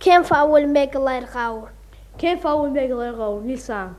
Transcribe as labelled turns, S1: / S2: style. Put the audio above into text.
S1: كيف أول ما يقلع الغاور
S2: كيف أول ما يقلع الغول لسان